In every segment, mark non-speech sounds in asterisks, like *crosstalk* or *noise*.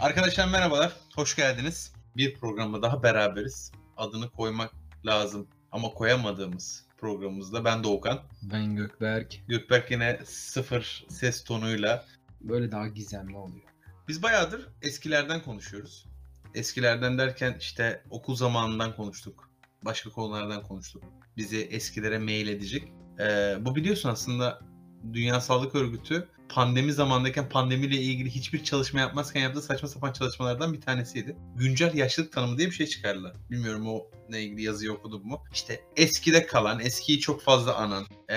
Arkadaşlar merhabalar, hoş geldiniz. Bir programla daha beraberiz. Adını koymak lazım ama koyamadığımız programımızda ben Doğukan. Ben Gökberk. Gökberk yine sıfır ses tonuyla. Böyle daha gizemli oluyor. Biz bayağıdır eskilerden konuşuyoruz. Eskilerden derken işte okul zamanından konuştuk. Başka konulardan konuştuk. Bizi eskilere mail edecek. Ee, bu biliyorsun aslında Dünya Sağlık Örgütü pandemi zamandayken pandemiyle ilgili hiçbir çalışma yapmazken yaptığı saçma sapan çalışmalardan bir tanesiydi. Güncel yaşlılık tanımı diye bir şey çıkardılar. Bilmiyorum o ne ilgili yazıyı okudum mu. İşte eskide kalan, eskiyi çok fazla anan, ee,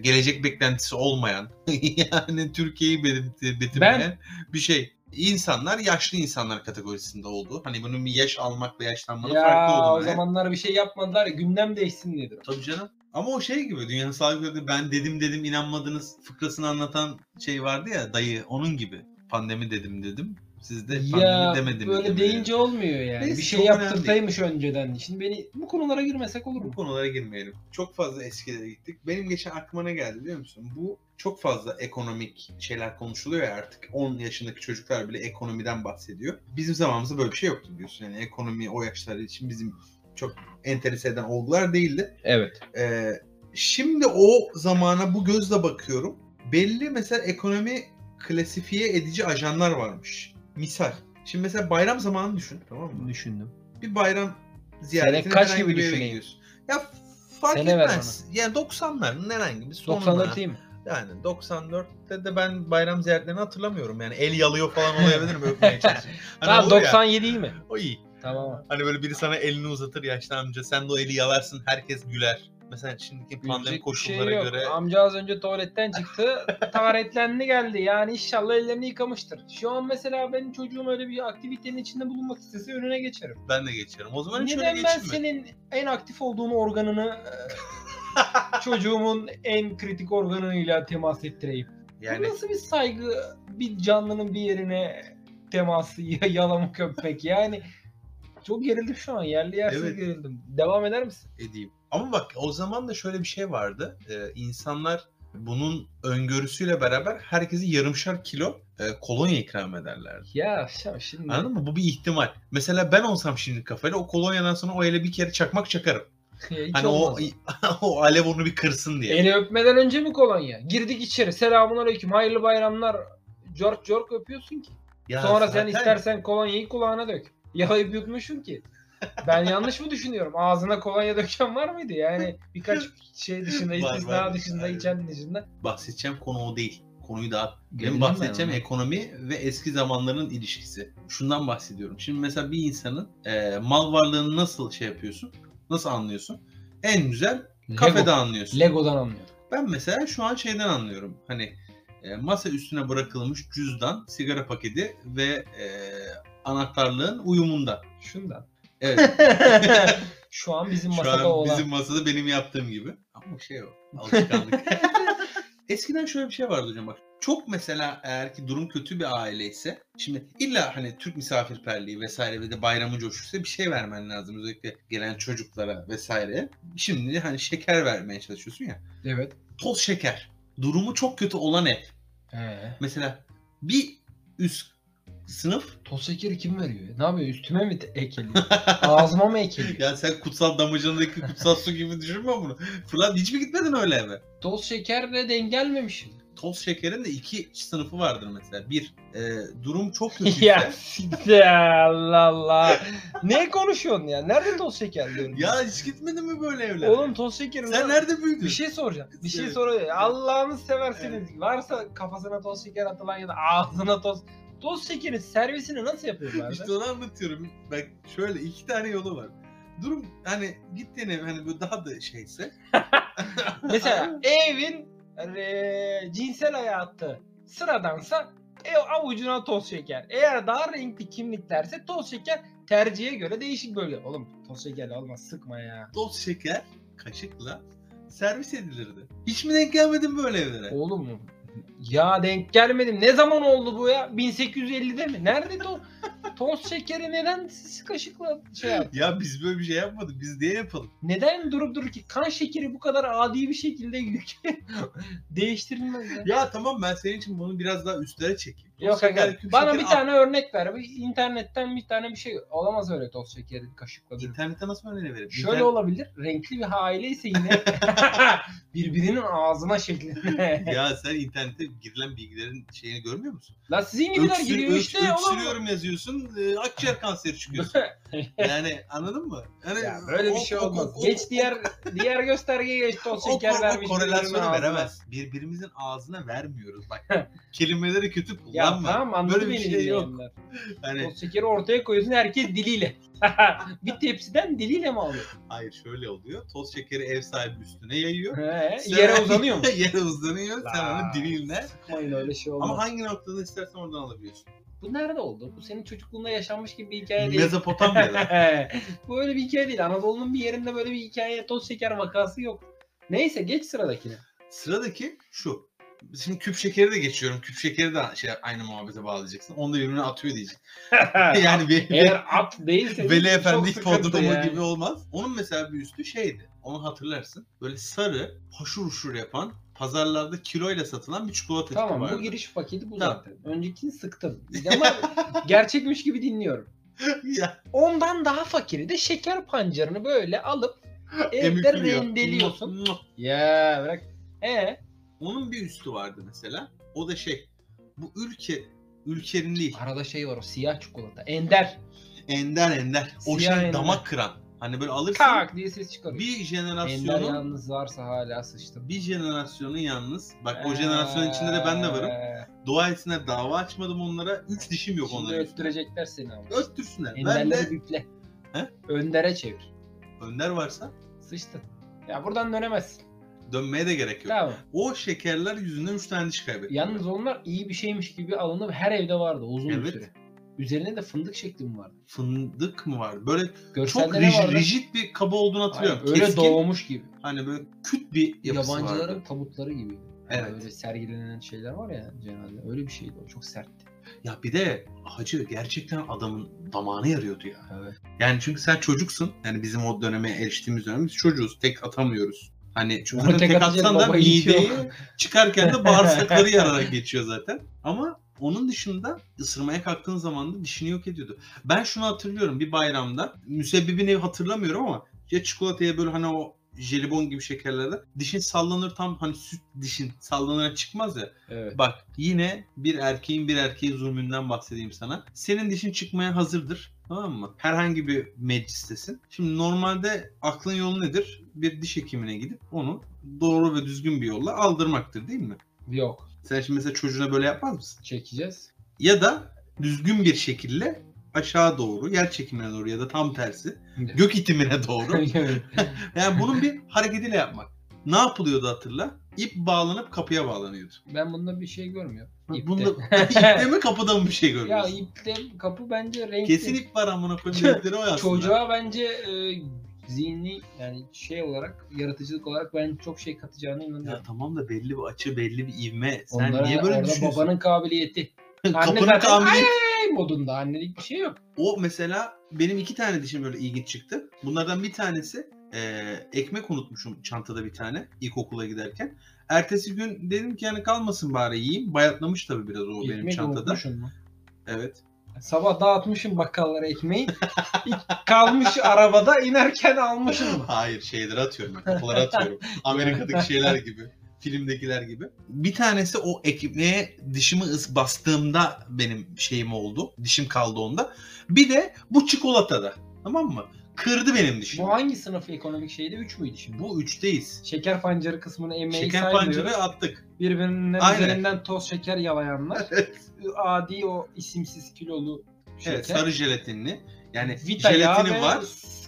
gelecek beklentisi olmayan, *laughs* yani Türkiye'yi belirti- betimleyen bir şey. İnsanlar yaşlı insanlar kategorisinde oldu. Hani bunun bir yaş almakla yaşlanmanın farklı Ya olduğunu. o zamanlar bir şey yapmadılar ya gündem değişsin diye. Tabii canım. Ama o şey gibi Dünya Sağlık Örgütü ben dedim dedim inanmadınız fıkrasını anlatan şey vardı ya dayı onun gibi. Pandemi dedim dedim. Siz de pandemi Ya demedim. böyle dedim. deyince olmuyor yani. Neyse, bir çok şey önemli yaptırtaymış önceden. Şimdi beni bu konulara girmesek olur bu mu? konulara girmeyelim. Çok fazla eskilere gittik. Benim geçen aklıma ne geldi biliyor musun? Bu çok fazla ekonomik şeyler konuşuluyor ya artık. 10 yaşındaki çocuklar bile ekonomiden bahsediyor. Bizim zamanımızda böyle bir şey yoktu diyorsun. Yani ekonomi o yaşlar için bizim çok enterese eden olgular değildi. Evet. Ee, şimdi o zamana bu gözle bakıyorum. Belli mesela ekonomi klasifiye edici ajanlar varmış. Misal. Şimdi mesela bayram zamanı düşün tamam mı? Düşündüm. Bir bayram ziyaretine kaç herhangi gibi bir yere düşüneyim? gidiyorsun. Ya fark Sene ver etmez. Yani 90'ların herhangi bir sonunda. 94 değil mi? Yani 94'te de ben bayram ziyaretlerini hatırlamıyorum. Yani el yalıyor falan olabilirim öpmeye *laughs* çalışıyor. Hani Tamam olur ya, 97 iyi mi? O iyi. Tamam. Hani böyle biri sana elini uzatır yaşlı amca. Sen de o eli yalarsın herkes güler. Mesela şimdiki pandemi Gülecek bir şey koşullara yok. göre Amca az önce tuvaletten çıktı. *laughs* taharetlendi geldi. Yani inşallah ellerini yıkamıştır. Şu an mesela benim çocuğum öyle bir aktivitenin içinde bulunmak istese önüne geçerim. ben de geçiyorum. O zaman hiç öyle Neden ben geçirme. senin en aktif olduğun organını *laughs* e, çocuğumun en kritik organıyla temas ettireyim? Bu Yani nasıl bir saygı bir canlının bir yerine teması ya- *laughs* yalamak öpmek yani çok gerildim şu an yerli yersiz Evet. gerildim. Devam eder misin? edeyim. Ama bak o zaman da şöyle bir şey vardı. Ee, insanlar bunun öngörüsüyle beraber herkese yarımşar kilo e, kolonya ikram ederlerdi. Ya şa- şimdi *laughs* Anladın mı? Bu bir ihtimal. Mesela ben olsam şimdi kafayla o kolonyadan sonra o ele bir kere çakmak çakarım. hiç hani olmaz. o *laughs* o alev onu bir şey. kırsın diye. Eli öpmeden önce mi kolonya? Girdik içeri. Selamun aleyküm. Hayırlı bayramlar. Cork cork öpüyorsun ki. Ya Sonra sen zaten- istersen kolonyayı kulağına dök. *laughs* Yalayıp yutmuşsun ki. Ben yanlış mı düşünüyorum? Ağzına kolonya döken var mıydı? Yani *laughs* birkaç şey dışında, Var, istisna var. dışında, Aynen. içen dışında. bahsedeceğim konu o değil. Konuyu dağıt. Benim Gerildim bahsedeceğim ben ona. ekonomi ve eski zamanların ilişkisi. Şundan bahsediyorum. Şimdi mesela bir insanın e, mal varlığını nasıl şey yapıyorsun? Nasıl anlıyorsun? En güzel kafede Lego- anlıyorsun. Lego'dan anlıyorum. Ben mesela şu an şeyden anlıyorum. Hani e, masa üstüne bırakılmış cüzdan, sigara paketi ve e, anahtarlığın uyumundan. *laughs* Şundan. Evet. *laughs* Şu an bizim Şu masada an olan. bizim masada benim yaptığım gibi. Ama şey o. *laughs* Alışkanlık. Eskiden şöyle bir şey vardı hocam bak. Çok mesela eğer ki durum kötü bir aile ise şimdi illa hani Türk misafirperliği vesaire ve de bayramın coşkusu bir şey vermen lazım özellikle gelen çocuklara vesaire. Şimdi hani şeker vermeye çalışıyorsun ya. Evet. Toz şeker. Durumu çok kötü olan ev. Ee, Mesela bir üst sınıf toz şekeri kim veriyor? Ne yapıyor? Üstüme mi *laughs* ekeliyor? Ağzıma mı ekeliyor? ya sen kutsal damacandaki kutsal su gibi düşünme bunu. Fırlat hiç mi gitmedin öyle eve? Toz şekerle denk gelmemişim. toz şekerin de iki sınıfı vardır mesela. Bir, e, durum *laughs* çok kötüyse. *laughs* ya ya. siktir Allah Allah. ne konuşuyorsun ya? Nerede toz şeker diyorum. hiç gitmedin mi böyle evlere? Oğlum toz şekeri. Sen nerede büyüdün? Bir şey soracağım. Bir şey Evet. soracağım. Allah'ını seversiniz. Varsa kafasına toz şeker atılan ya da ağzına toz. Toz şekerin servisini nasıl yapıyorlar? İşte onu anlatıyorum. Bak şöyle iki tane yolu var. Durum hani gittiğin ev hani böyle daha da şeyse. *laughs* *laughs* Mesela evin e, cinsel hayatı sıradansa ev avucuna toz şeker. Eğer daha renkli kimliklerse toz şeker tercihe göre değişik bölge. Oğlum toz şekerle olmaz sıkma ya. toz şeker kaşıkla servis edilirdi. Hiç mi denk gelmedin böyle evlere? Oğlum ya denk gelmedim. Ne zaman oldu bu ya? 1850'de mi? *laughs* Nerede to toz şekeri neden siz kaşıkla şey yaptı? Ya biz böyle bir şey yapmadık. Biz niye yapalım? Neden durup durur ki kan şekeri bu kadar adi bir şekilde yük *laughs* değiştirilmez ya. Ya tamam ben senin için bunu biraz daha üstlere çekeyim. Yok şeker, aga. küp Bana şeker bir al. tane örnek ver. Bir internetten bir tane bir şey olamaz öyle toz şekeri kaşıkla. bir- İnternette nasıl örneği verir? Şöyle olabilir. Renkli bir aile *laughs* ise yine birbirinin ağzına *laughs* şeklinde. Ya sen internette girilen bilgilerin şeyini görmüyor musun? La sizin gibiler Öksür- giriyor öks- işte. oğlum. Öksürüyorum yazıyorsun, e, akciğer kanseri *laughs* çıkıyorsun. Yani anladın mı? Yani, ya böyle bir o- şey o- olmaz. o- Geç o- diğer diğer göstergeye geç toz o- o- şeker o vermiş. birbirinin korelasyonu ağzına. veremez. Birbirimizin ağzına vermiyoruz. *laughs* Bak kelimeleri kötü Ya kullanma. tamam anladı Böyle bir beni şey yok. dinleyenler. Yani Toz şekeri ortaya koyuyorsun herkes diliyle. *laughs* bir tepsiden diliyle mi alıyor? hayır şöyle oluyor. Toz şekeri ev sahibi üstüne *laughs* yayıyor. He, Sen- yere *laughs* uzanıyor mu? yere uzanıyor. Sen onu Vay. dilinle. Yapmayın öyle şey olmaz. Ama hangi noktada istersen oradan alabiliyorsun. Bu nerede oldu? Bu senin çocukluğunda yaşanmış gibi bir hikaye değil. *laughs* Mezopotamya'da. bu öyle bir hikaye değil. Anadolu'nun bir yerinde böyle bir hikaye toz şeker vakası yok. Neyse *laughs* geç sıradakine. Sıradaki şu. Şimdi küp şekeri de geçiyorum. Küp şekeri de şey, aynı muhabbete bağlayacaksın. Onu da birbirine atıyor diyeceksin. *laughs* yani bir, Eğer at değilse Veli çok Efendi ilk sıkıntı podromu yani. gibi olmaz. Onun mesela bir üstü şeydi. Onu hatırlarsın. Böyle sarı, haşur uşur yapan, pazarlarda kiloyla satılan bir çikolata Tamam vardı. bu giriş paketi bu Tamam. zaten. Öncekini sıktım. Ama gerçekmiş gibi dinliyorum. *laughs* ya, Ondan daha fakiri de şeker pancarını *gasps* böyle alıp evde emüklüyor. rendeliyorsun. Muah, muah. ya bırak. E Onun bir üstü vardı mesela. O da şey. Bu ülke ülkenin değil. arada şey var o siyah çikolata. Ender. Ender ender. O Siyah şey ender. damak kıran. Hani böyle alırsın. Tak diye ses çıkarıyor. Bir Ender jenerasyonun yalnız varsa hala sıçtım. bir jenerasyonun yalnız. Bak Ee, o jenerasyonun içinde de ben de varım. Dua etsinler dava açmadım onlara. Üç dişim yok Şimdi onların. üstüne. öttürecekler seni ama. Öttürsünler. Ben Enderleri de bükle. He? Öndere çevir. Önder varsa Sıçtın. Ya buradan dönemezsin. dönmeye de gerek yok. Tamam. O şekerler yüzünden 3 tane diş kaybettim. Yalnız onlar iyi bir şeymiş gibi alınıp her evde vardı uzun bir Evet. süre. Üzerine de fındık şekli mi vardı? Fındık mı var? Böyle Görselde çok ne rij, vardı? rigid bir kaba olduğunu hatırlıyorum. Aynen, öyle Keskin, doğmuş gibi. hani böyle küt bir yapısı Yabancıların vardı. tabutları gibi. Yani Evet. Öyle sergilenen şeyler var ya cenaze. Öyle bir şeydi o. Çok sertti. Ya bir de hacı gerçekten adamın damağını yarıyordu ya. Evet. Yani çünkü sen çocuksun. Yani bizim o döneme eriştiğimiz dönem biz çocuğuz. Tek atamıyoruz. Hani çünkü Ama zaten tek tek atacak atsan da baba hiç yok. *laughs* mideyi çıkarken de bağırsakları yararak geçiyor zaten. Ama onun dışında ısırmaya kalktığın zaman da dişini yok ediyordu. Ben şunu hatırlıyorum bir bayramda. Müsebbibini hatırlamıyorum ama ya çikolataya böyle hani o jelibon gibi şekerlerde dişin sallanır tam hani süt dişin sallanır çıkmaz ya. Evet. Bak yine bir erkeğin bir erkeği zulmünden bahsedeyim sana. Senin dişin çıkmaya hazırdır. Tamam mı? Herhangi bir meclistesin. Şimdi normalde aklın yolu nedir? Bir diş hekimine gidip onu doğru ve düzgün bir yolla aldırmaktır değil mi? Yok. Sen şimdi mesela çocuğuna böyle yapmaz mısın? *laughs* Çekeceğiz. Ya da düzgün bir şekilde aşağı doğru, yer çekimine doğru ya da tam tersi gök itimine *laughs* doğru. Yani bunun bir hareketiyle yapmak. Ne yapılıyordu hatırla? İp bağlanıp kapıya bağlanıyordu. ben bunda bir şey görmüyorum. İpte. Bunda *laughs* ipte mi kapıda mı bir şey ya görüyorsun? ipte kapı bence renkli. Kesin ip var amına koyayım dedikleri o aslında. Çocuğa bence e, zihni yani şey olarak yaratıcılık olarak ben çok şey katacağına Ya inanıyorum. tamam da belli bir açı belli bir ivme. Sen Onlara- niye böyle orada düşünüyorsun? babanın kabiliyeti. *laughs* Anne Kapının zaten kamili. "Ey" modunda annelik bir şey yok. O mesela benim iki tane dişim böyle ilginç çıktı. Bunlardan bir tanesi eee, ekmek unutmuşum çantada bir tane ilkokula giderken. Ertesi gün dedim ki yani kalmasın bari yiyeyim. Bayatlamış tabii biraz o benim Ekmek çantada. unutmuşsun mu? Evet. Sabah dağıtmışım bakkallara ekmeği. *laughs* İlk kalmış arabada inerken almışım. Hayır şeyleri atıyorum ben kapılara atıyorum. Amerika'daki şeyler gibi. Filmdekiler gibi. Bir tanesi o ekmeğe dişimi ıs bastığımda benim şeyim oldu. Dişim kaldı onda. Bir de bu çikolatada. Tamam mı? Kırdı benim dişimi. Bu hangi sınıf ekonomik şeydi? 3 müydü şimdi? Bu üçteyiz. Şeker pancarı kısmını emeği Şeker saymıyoruz. pancarı attık. Birbirinin Aynen. üzerinden toz şeker yalayanlar. *laughs* evet, Adi o isimsiz kilolu şeker. sarı jelatinli. Yani Vita yağı jelatini ve var.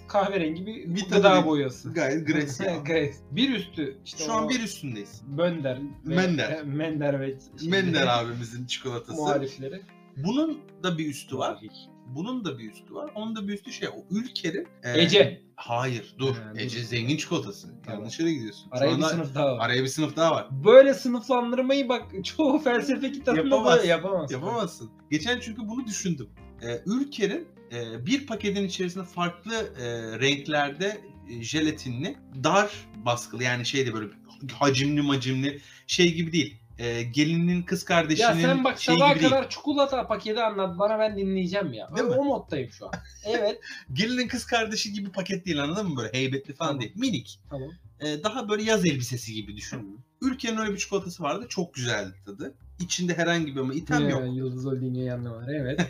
Kahverengi bir Vita gıda bir- boyası. Gayet *laughs* gresi. ya. Gres. Bir üstü işte Şu o an bir üstündeyiz. Bönder. ve- Mender. Mender ve şey- Mender abimizin çikolatası. muhalifleri. Bunun da bir üstü var. Bunun da bir üstü var. Onun da bir üstü şey o ülkenin e, Ece. Hayır dur. Ha, dur. Ece zengin çikolatası. Tamam. Yanlış yere gidiyorsun. Şu Araya bir anda- sınıf daha var. araya bir sınıf daha var. Böyle sınıflandırmayı bak *laughs* çoğu felsefe kitabında Yapamaz. böyle yapamaz. Yapamazsın. Geçen çünkü bunu düşündüm. Ee, ülkenin e, bir paketin içerisinde farklı e, renklerde e, jelatinli dar baskılı yani şey de böyle hacimli macimli şey gibi değil. e, gelinin kız kardeşinin Ya sen bak şeyi sabaha gibi değil. kadar çikolata paketi anlat bana ben dinleyeceğim ya. Değil o, mi? o moddayım şu *laughs* an. Evet. Gelinin kız kardeşi gibi paket değil anladın mı? Böyle heybetli falan Tamam. değil. Minik. tamam. E, daha böyle yaz elbisesi gibi düşün. Ülkenin öyle bir çikolatası vardı. Çok güzeldi tadı. İçinde herhangi bir ama item Ee, yok. Yıldız Holding'e yanına var. *laughs* Evet.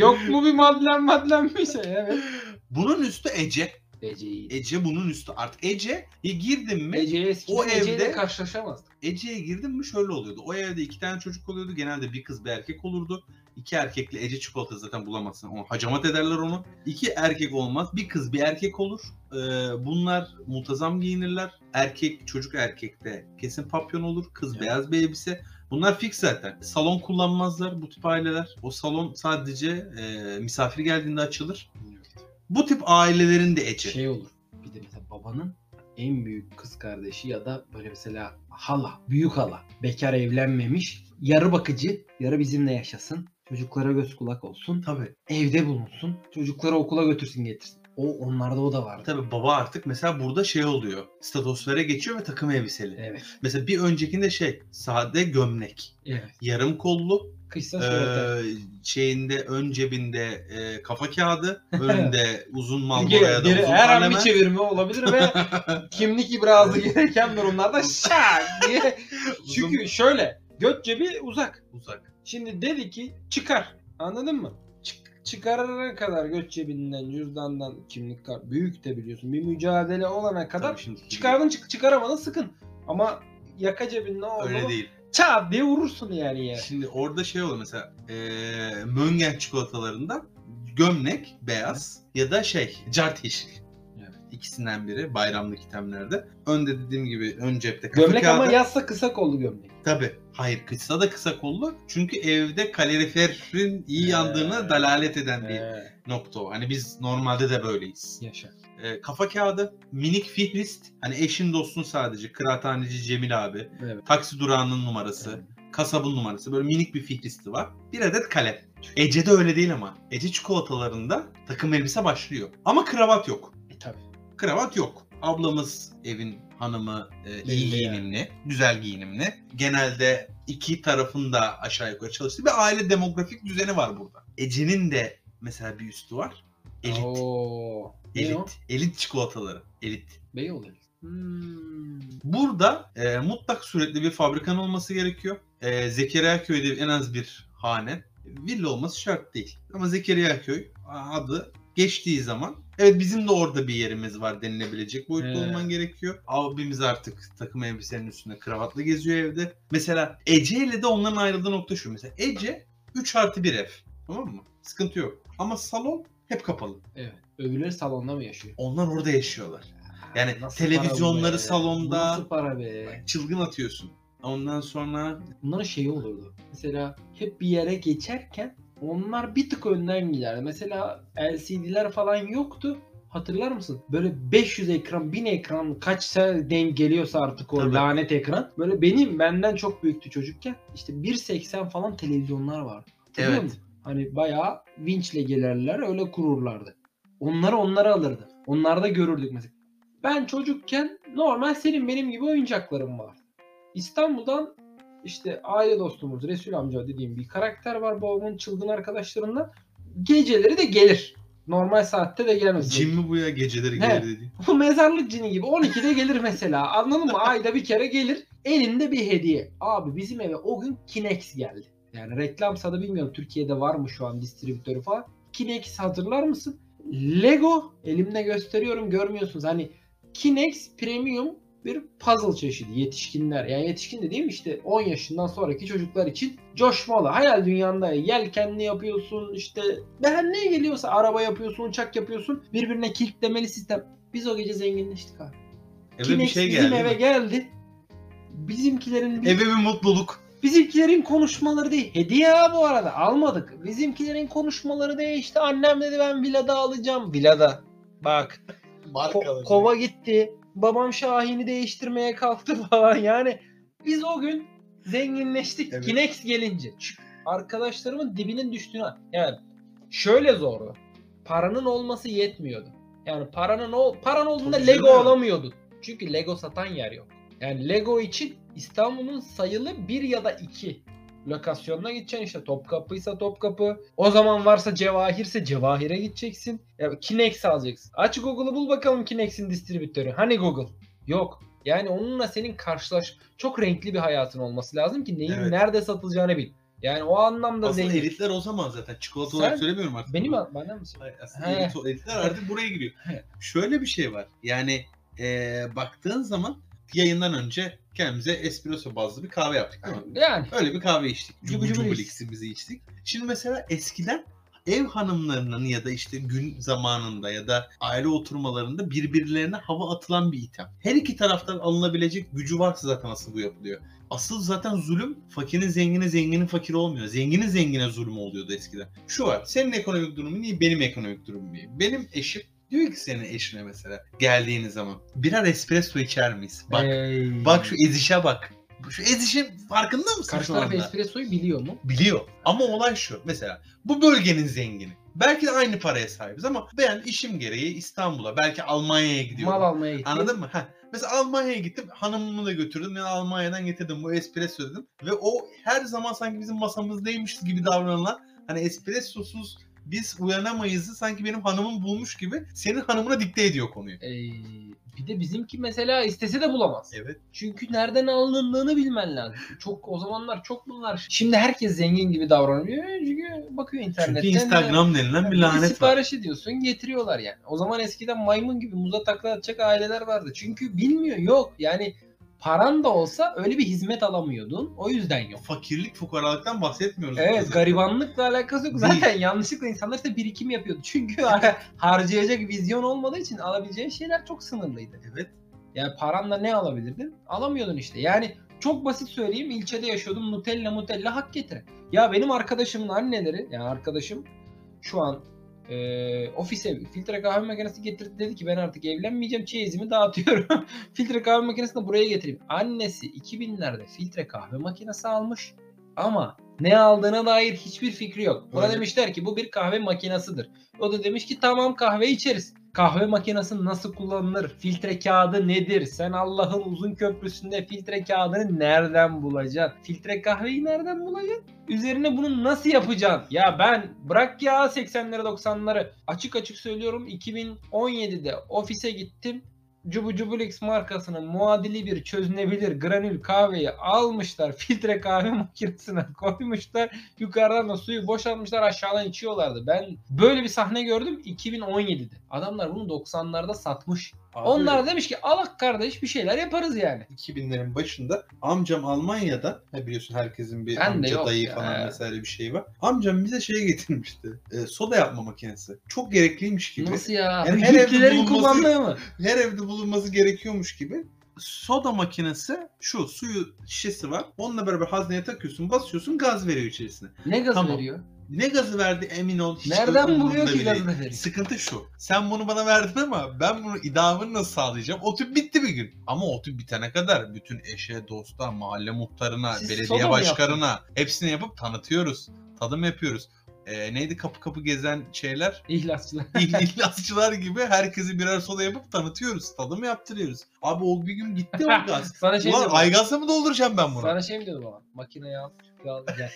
Yok mu bir madlen madlen bir şey? Evet. *laughs* bunun üstü Ece. Ece'yi. Ece bunun üstü artık. Ece e, girdin mi? Ece'ye eskiden E, O Ece'yle evde- karşılaşamazdık. Ece'ye girdim mi şöyle oluyordu. O evde iki tane çocuk oluyordu. Genelde bir kız bir erkek olurdu. İki erkekle Ece çikolata zaten bulamazsın. Onu hacamat ederler onu. İki erkek olmaz. Bir kız bir erkek olur. Ee, bunlar muntazam giyinirler. Erkek çocuk erkekte kesin papyon olur. Kız Evet. beyaz bir elbise. Bunlar fix zaten. Salon kullanmazlar bu tip aileler. O salon sadece e, misafir geldiğinde açılır. Bu tip ailelerin de Ece. şey olur. Bir de mesela babanın en büyük kız kardeşi ya da böyle mesela hala, büyük hala. Bekar evlenmemiş. Yarı bakıcı, yarı bizimle yaşasın. Çocuklara göz kulak olsun. Tabii. Evde bulunsun. Çocukları okula götürsün getirsin. O onlarda o da vardı. Tabii baba artık mesela burada şey oluyor. Statosfere geçiyor ve takım elbiseli. Evet. Mesela bir öncekinde şey sade gömlek, Evet. yarım kollu, Kışsa şöyle. eee, şeyinde ön cebinde eee, *laughs* kafa kağıdı, önünde uzun Geri, malboraya da geri, uzun her an bir parlamen. çevirme olabilir *laughs* ve kimlik ibrazı gereken durumlarda şak diye. Çünkü şöyle göt cebi uzak. uzak. Şimdi dedi ki çıkar. Anladın mı? Çık, çıkarana kadar göt cebinden, cüzdandan, kimlik kart büyük de biliyorsun. Bir mücadele olana kadar Tabii şimdi çıkardın çık çıkaramadın sıkın. Ama yaka cebinde o öyle zaman değil. çat diye vurursun yani yere. Şimdi orada şey oluyor mesela eee Möngen çikolatalarında gömlek beyaz ya da şey cart yeşil. Evet. İkisinden biri bayramlık itemlerde. Önde dediğim gibi ön cepte kafa Gömlek kağıdı. ama yazsa kısa kollu gömlek. Tabii. Hayır kısa da kısa kollu. Çünkü evde kaloriferin iyi Ee, yandığına dalalet eden bir Ee, nokta o. Hani biz normalde de böyleyiz. Yaşa. Ee, kafa kağıdı, minik fihrist, hani eşin dostun sadece, kıraathaneci Cemil abi, Evet. taksi durağının numarası, kasabın numarası böyle minik bir fihristi var. Bir adet kalem. Ece'de öyle değil ama. Ece çikolatalarında takım elbise başlıyor. Ama kravat yok E, tabii. kravat yok. Ablamız evin hanımı e, iyi Belli yani. giyinimli, güzel giyinimli. Genelde iki tarafın da aşağı yukarı çalıştığı bir aile demografik düzeni var burada. Ece'nin de mesela bir üstü var. Elit, Oo. Ne o? elit, elit çikolataları, elit. Beyoğlu. Hmm. Burada e, mutlak suretli bir fabrikan olması gerekiyor. E, Zekeriya köyde en az bir hane. Villa olması şart değil. Ama Zekeriya köy adı geçtiği zaman evet bizim de orada bir yerimiz var denilebilecek boyutta He. olman gerekiyor. Abimiz artık takım elbisenin üstünde kravatla geziyor evde. Mesela Ece ile de onların ayrıldığı nokta şu. Mesela Ece 3 artı 1 ev. Tamam mı? Sıkıntı yok. Ama salon hep kapalı. Evet. Öbürleri salonda mı yaşıyor? Onlar orada yaşıyorlar. Yani Nasıl para bu televizyonları be? salonda. Nasıl para be? Çılgın atıyorsun. Ondan sonra Bunların şeyi olurdu. Mesela hep bir yere geçerken onlar bir tık önden giderdi. Mesela LCD'ler falan yoktu. Hatırlar mısın? Böyle 500 ekran, 1000 ekran kaçsa denk geliyorsa artık o Tabii. lanet ekran. Böyle benim benden çok büyüktü çocukken. İşte 1.80 falan televizyonlar vardı. Hatırlıyor Evet. musun? Hani bayağı vinçle gelirler öyle kururlardı. Onları onları alırdı. Onlarda görürdük mesela. Ben çocukken normal senin benim gibi oyuncaklarım var. İstanbul'dan işte aile dostumuz Resul amca dediğim bir karakter var babamın çılgın arkadaşlarından. Geceleri de gelir. Normal saatte de gelmez. cin mi bu ya geceleri He. gelir dedi. *laughs* Bu mezarlık cini gibi 12'de gelir mesela. Anladın mı? Ayda bir kere gelir. Elinde bir hediye. Abi bizim eve o gün Kinex geldi. Yani reklamsa da bilmiyorum Türkiye'de var mı şu an distribütörü falan. Kinex hazırlar mısın? Lego elimle gösteriyorum görmüyorsunuz. Hani Kinex Premium bir puzzle çeşidi yetişkinler. Yani yetişkin dediğim işte 10 yaşından sonraki çocuklar için coşmalı. Hayal dünyanda yelkenli yapıyorsun işte ben ne geliyorsa araba yapıyorsun, uçak yapıyorsun. Birbirine kilitlemeli sistem. Biz o gece zenginleştik abi. Eve bir Kinex şey bizim geldi. eve geldi. Bizimkilerin Eve bir mutluluk. bizimkilerin konuşmaları değil. Hediye ha bu arada almadık. Bizimkilerin konuşmaları değil. İşte annem dedi ben villada alacağım. Villada. Bak ko- kova gitti. Babam Şahin'i değiştirmeye kalktı *laughs* falan. Yani biz o gün zenginleştik. Evet. Kinex gelince. Arkadaşlarımın dibinin düştüğünü yani şöyle zordu. Paranın olması yetmiyordu. Yani paranın ol paran olduğunda Tabii Lego canım. alamıyordun. Çünkü Lego satan yer yok. Yani Lego için İstanbul'un sayılı bir ya da iki lokasyonuna gideceksin işte Topkapıysa Topkapı. O zaman varsa Cevahir'se Cevahir'e gideceksin. Ya Kinex alacaksın. Aç Google'ı bul bakalım Kinex'in distribütörü. Hani Google? Yok. Yani onunla senin karşılaş çok renkli bir hayatın olması lazım ki neyin Evet. nerede satılacağını bil. Yani o anlamda Aslında zengin. elitler o zaman zaten. Çikolata Sen- olarak söylemiyorum artık. Benim bunu. bana mı söylüyorsun? Hayır, Aslında He. elit, elitler artık buraya giriyor. He. Şöyle bir şey var. Yani eee, baktığın zaman yayından önce kendimize espresso bazlı bir kahve yaptık değil mi? Yani Öyle bir kahve içtik. Cubu Cubu cubu cubu içtik. liksimizi içtik. Şimdi mesela eskiden ev hanımlarının ya da işte gün zamanında ya da aile oturmalarında birbirlerine hava atılan bir item. Her iki taraftan alınabilecek gücü varsa zaten asıl bu yapılıyor. Asıl zaten zulüm fakirin zengine zenginin fakir olmuyor. Zenginin zengine zulüm oluyordu eskiden. Şu var senin ekonomik durumun iyi benim ekonomik durumum iyi. Benim eşim diyor ki senin eşine mesela geldiğiniz zaman birer espresso içer miyiz? Bak Ey. Bak şu ezişe bak. Şu ezişin farkında mısın Hmm. Karşı şu taraf anda? espressoyu biliyor mu? Biliyor. Ama olay şu. Mesela bu bölgenin zengini. Belki de aynı paraya sahibiz ama ben işim gereği İstanbul'a, belki Almanya'ya gidiyorum. Mal almaya gitti. Anladın mı? Heh. Mesela Almanya'ya gittim. Hanımımı da götürdüm. Yani Almanya'dan getirdim. Bu espresso dedim. Ve o her zaman sanki bizim masamızdaymış gibi davranılan hani espressosuz biz uyanamayızı sanki benim hanımım bulmuş gibi senin hanımına dikte ediyor konuyu. Ey, bir de bizimki mesela istese de bulamaz. Evet. Çünkü nereden alındığını bilmen lazım. Çok o zamanlar çok bunlar. Şimdi herkes zengin gibi davranıyor. E, Çünkü bakıyor internetten. Çünkü Instagram denilen bir lanet var. sipariş ediyorsun getiriyorlar yani. O zaman eskiden maymun gibi muza takla atacak aileler vardı. Çünkü bilmiyor yok yani paran da olsa öyle bir hizmet alamıyordun. O yüzden yok. Fakirlik, fukaralıktan bahsetmiyoruz. Evet Biz. garibanlıkla alakası yok. Zaten yanlışlıkla insanlar işte birikim yapıyordu. Çünkü *laughs* har- harcayacak vizyon olmadığı için alabileceğin şeyler çok sınırlıydı. Evet. Yani paranla ne alabilirdin? Alamıyordun işte. Yani çok basit söyleyeyim ilçede yaşıyordum Nutella Nutella hak getire. Ya benim arkadaşımın anneleri yani arkadaşım şu an e, ofise filtre kahve makinesi getirdi dedi ki ben artık evlenmeyeceğim çeyizimi dağıtıyorum. filtre kahve makinesini de buraya getireyim. Annesi 2000'lerde filtre kahve makinesi almış ama ne aldığına dair hiçbir fikri yok. Ona Öyle. demişler ki bu bir kahve makinasıdır. O da demiş ki tamam kahve içeriz. Kahve makinesi nasıl kullanılır? Filtre kağıdı nedir? Sen Allah'ın uzun köprüsünde filtre kağıdını nereden bulacaksın? Filtre kahveyi nereden bulacaksın? Üzerine bunu nasıl yapacaksın? Ya ben bırak ya 80'leri 90'ları. Açık açık söylüyorum 2017'de ofise gittim. Cubu Cubulix markasının muadili bir çözünebilir granül kahveyi almışlar. Filtre kahve *laughs* makinesine koymuşlar. Yukarıdan da suyu boşaltmışlar aşağıdan içiyorlardı. Ben böyle bir sahne gördüm 2017'de. Adamlar bunu 90'larda satmış. Abi, Onlar demiş ki alak kardeş bir şeyler yaparız yani. 2000'lerin başında amcam Almanya'da ya biliyorsun herkesin bir Ben de amca yok dayı ya. falan vesaire bir şey var. Amcam bize şey getirmişti. e, soda yapma makinesi. Çok gerekliymiş gibi. Nasıl ya? Yani Bu her evde Hitlilerin bulunması- kullandığı mı? Her evde bulunması gerekiyormuş gibi. Soda makinesi şu suyu şişesi var. Onunla beraber hazneye takıyorsun, basıyorsun, gaz veriyor içerisine. Ne gaz Tamam. veriyor? Ne gazı verdi emin ol. hiç Nereden umurumda buluyor ki bile değil. gazı veriyor? Sıkıntı şu. Sen bunu bana verdin ama ben bunu idamını nasıl sağlayacağım? O tüp bitti bir gün. Ama o tüp bitene kadar bütün eşe, dosta, mahalle muhtarına, Siz soda belediye mı başkanına hepsini yapıp tanıtıyoruz. Tadım yapıyoruz. Ee, neydi kapı kapı gezen şeyler? *laughs* İhlasçılar. İhl- İhlasçılar gibi herkesi birer soda yapıp tanıtıyoruz. Tadım yaptırıyoruz. Abi o bir gün gitti *laughs* o gaz. Sana şey Ulan diyorum. aygazla mı dolduracağım ben bunu? Sana şey mi diyordum ama? Makineye al, tüpü al, gel.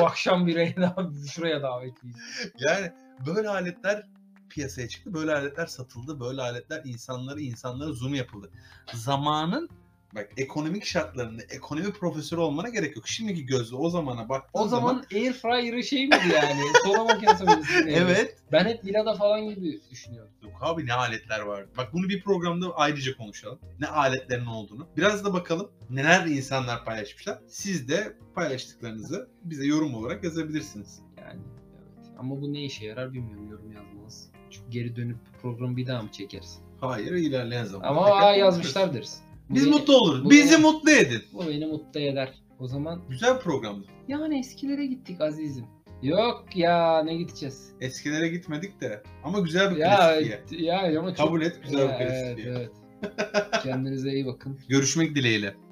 Bu akşam bireye daha *laughs* şuraya davetliyiz. Yani böyle aletler piyasaya çıktı. Böyle aletler satıldı. Böyle aletler insanları insanlara zoom yapıldı. Zamanın bak ekonomik şartlarında ekonomi profesörü olmana gerek yok. Şimdiki gözle o zamana bak. O zaman air fryer'ı şey miydi yani? *laughs* Soda makinesi miydi? sizin evde? evet. Ben hep Milada falan gibi düşünüyorum. Yok abi ne aletler var. Bak bunu bir programda ayrıca konuşalım. Ne aletlerin olduğunu. Biraz da bakalım neler insanlar paylaşmışlar. Siz de paylaştıklarınızı bize yorum olarak yazabilirsiniz. Yani evet. Ama bu ne işe yarar bilmiyorum yorum yazmanız. Çünkü geri dönüp programı bir daha mı çekeriz? Hayır ilerleyen zaman. Ama tekrar aa konuşuruz. yazmışlar deriz. Bu Biz beni- mutlu oluruz. bu- Bizi mutlu edin. Bu beni mutlu eder. O zaman Güzel programdı. yani eskilere gittik azizim. Yok ya ne gideceğiz? Eskilere gitmedik de ama güzel bir Ya, klasikliye. ya ama çok... Kabul et güzel bir Ya, klasikliye. *laughs* Evet, evet. Kendinize iyi bakın. Görüşmek dileğiyle.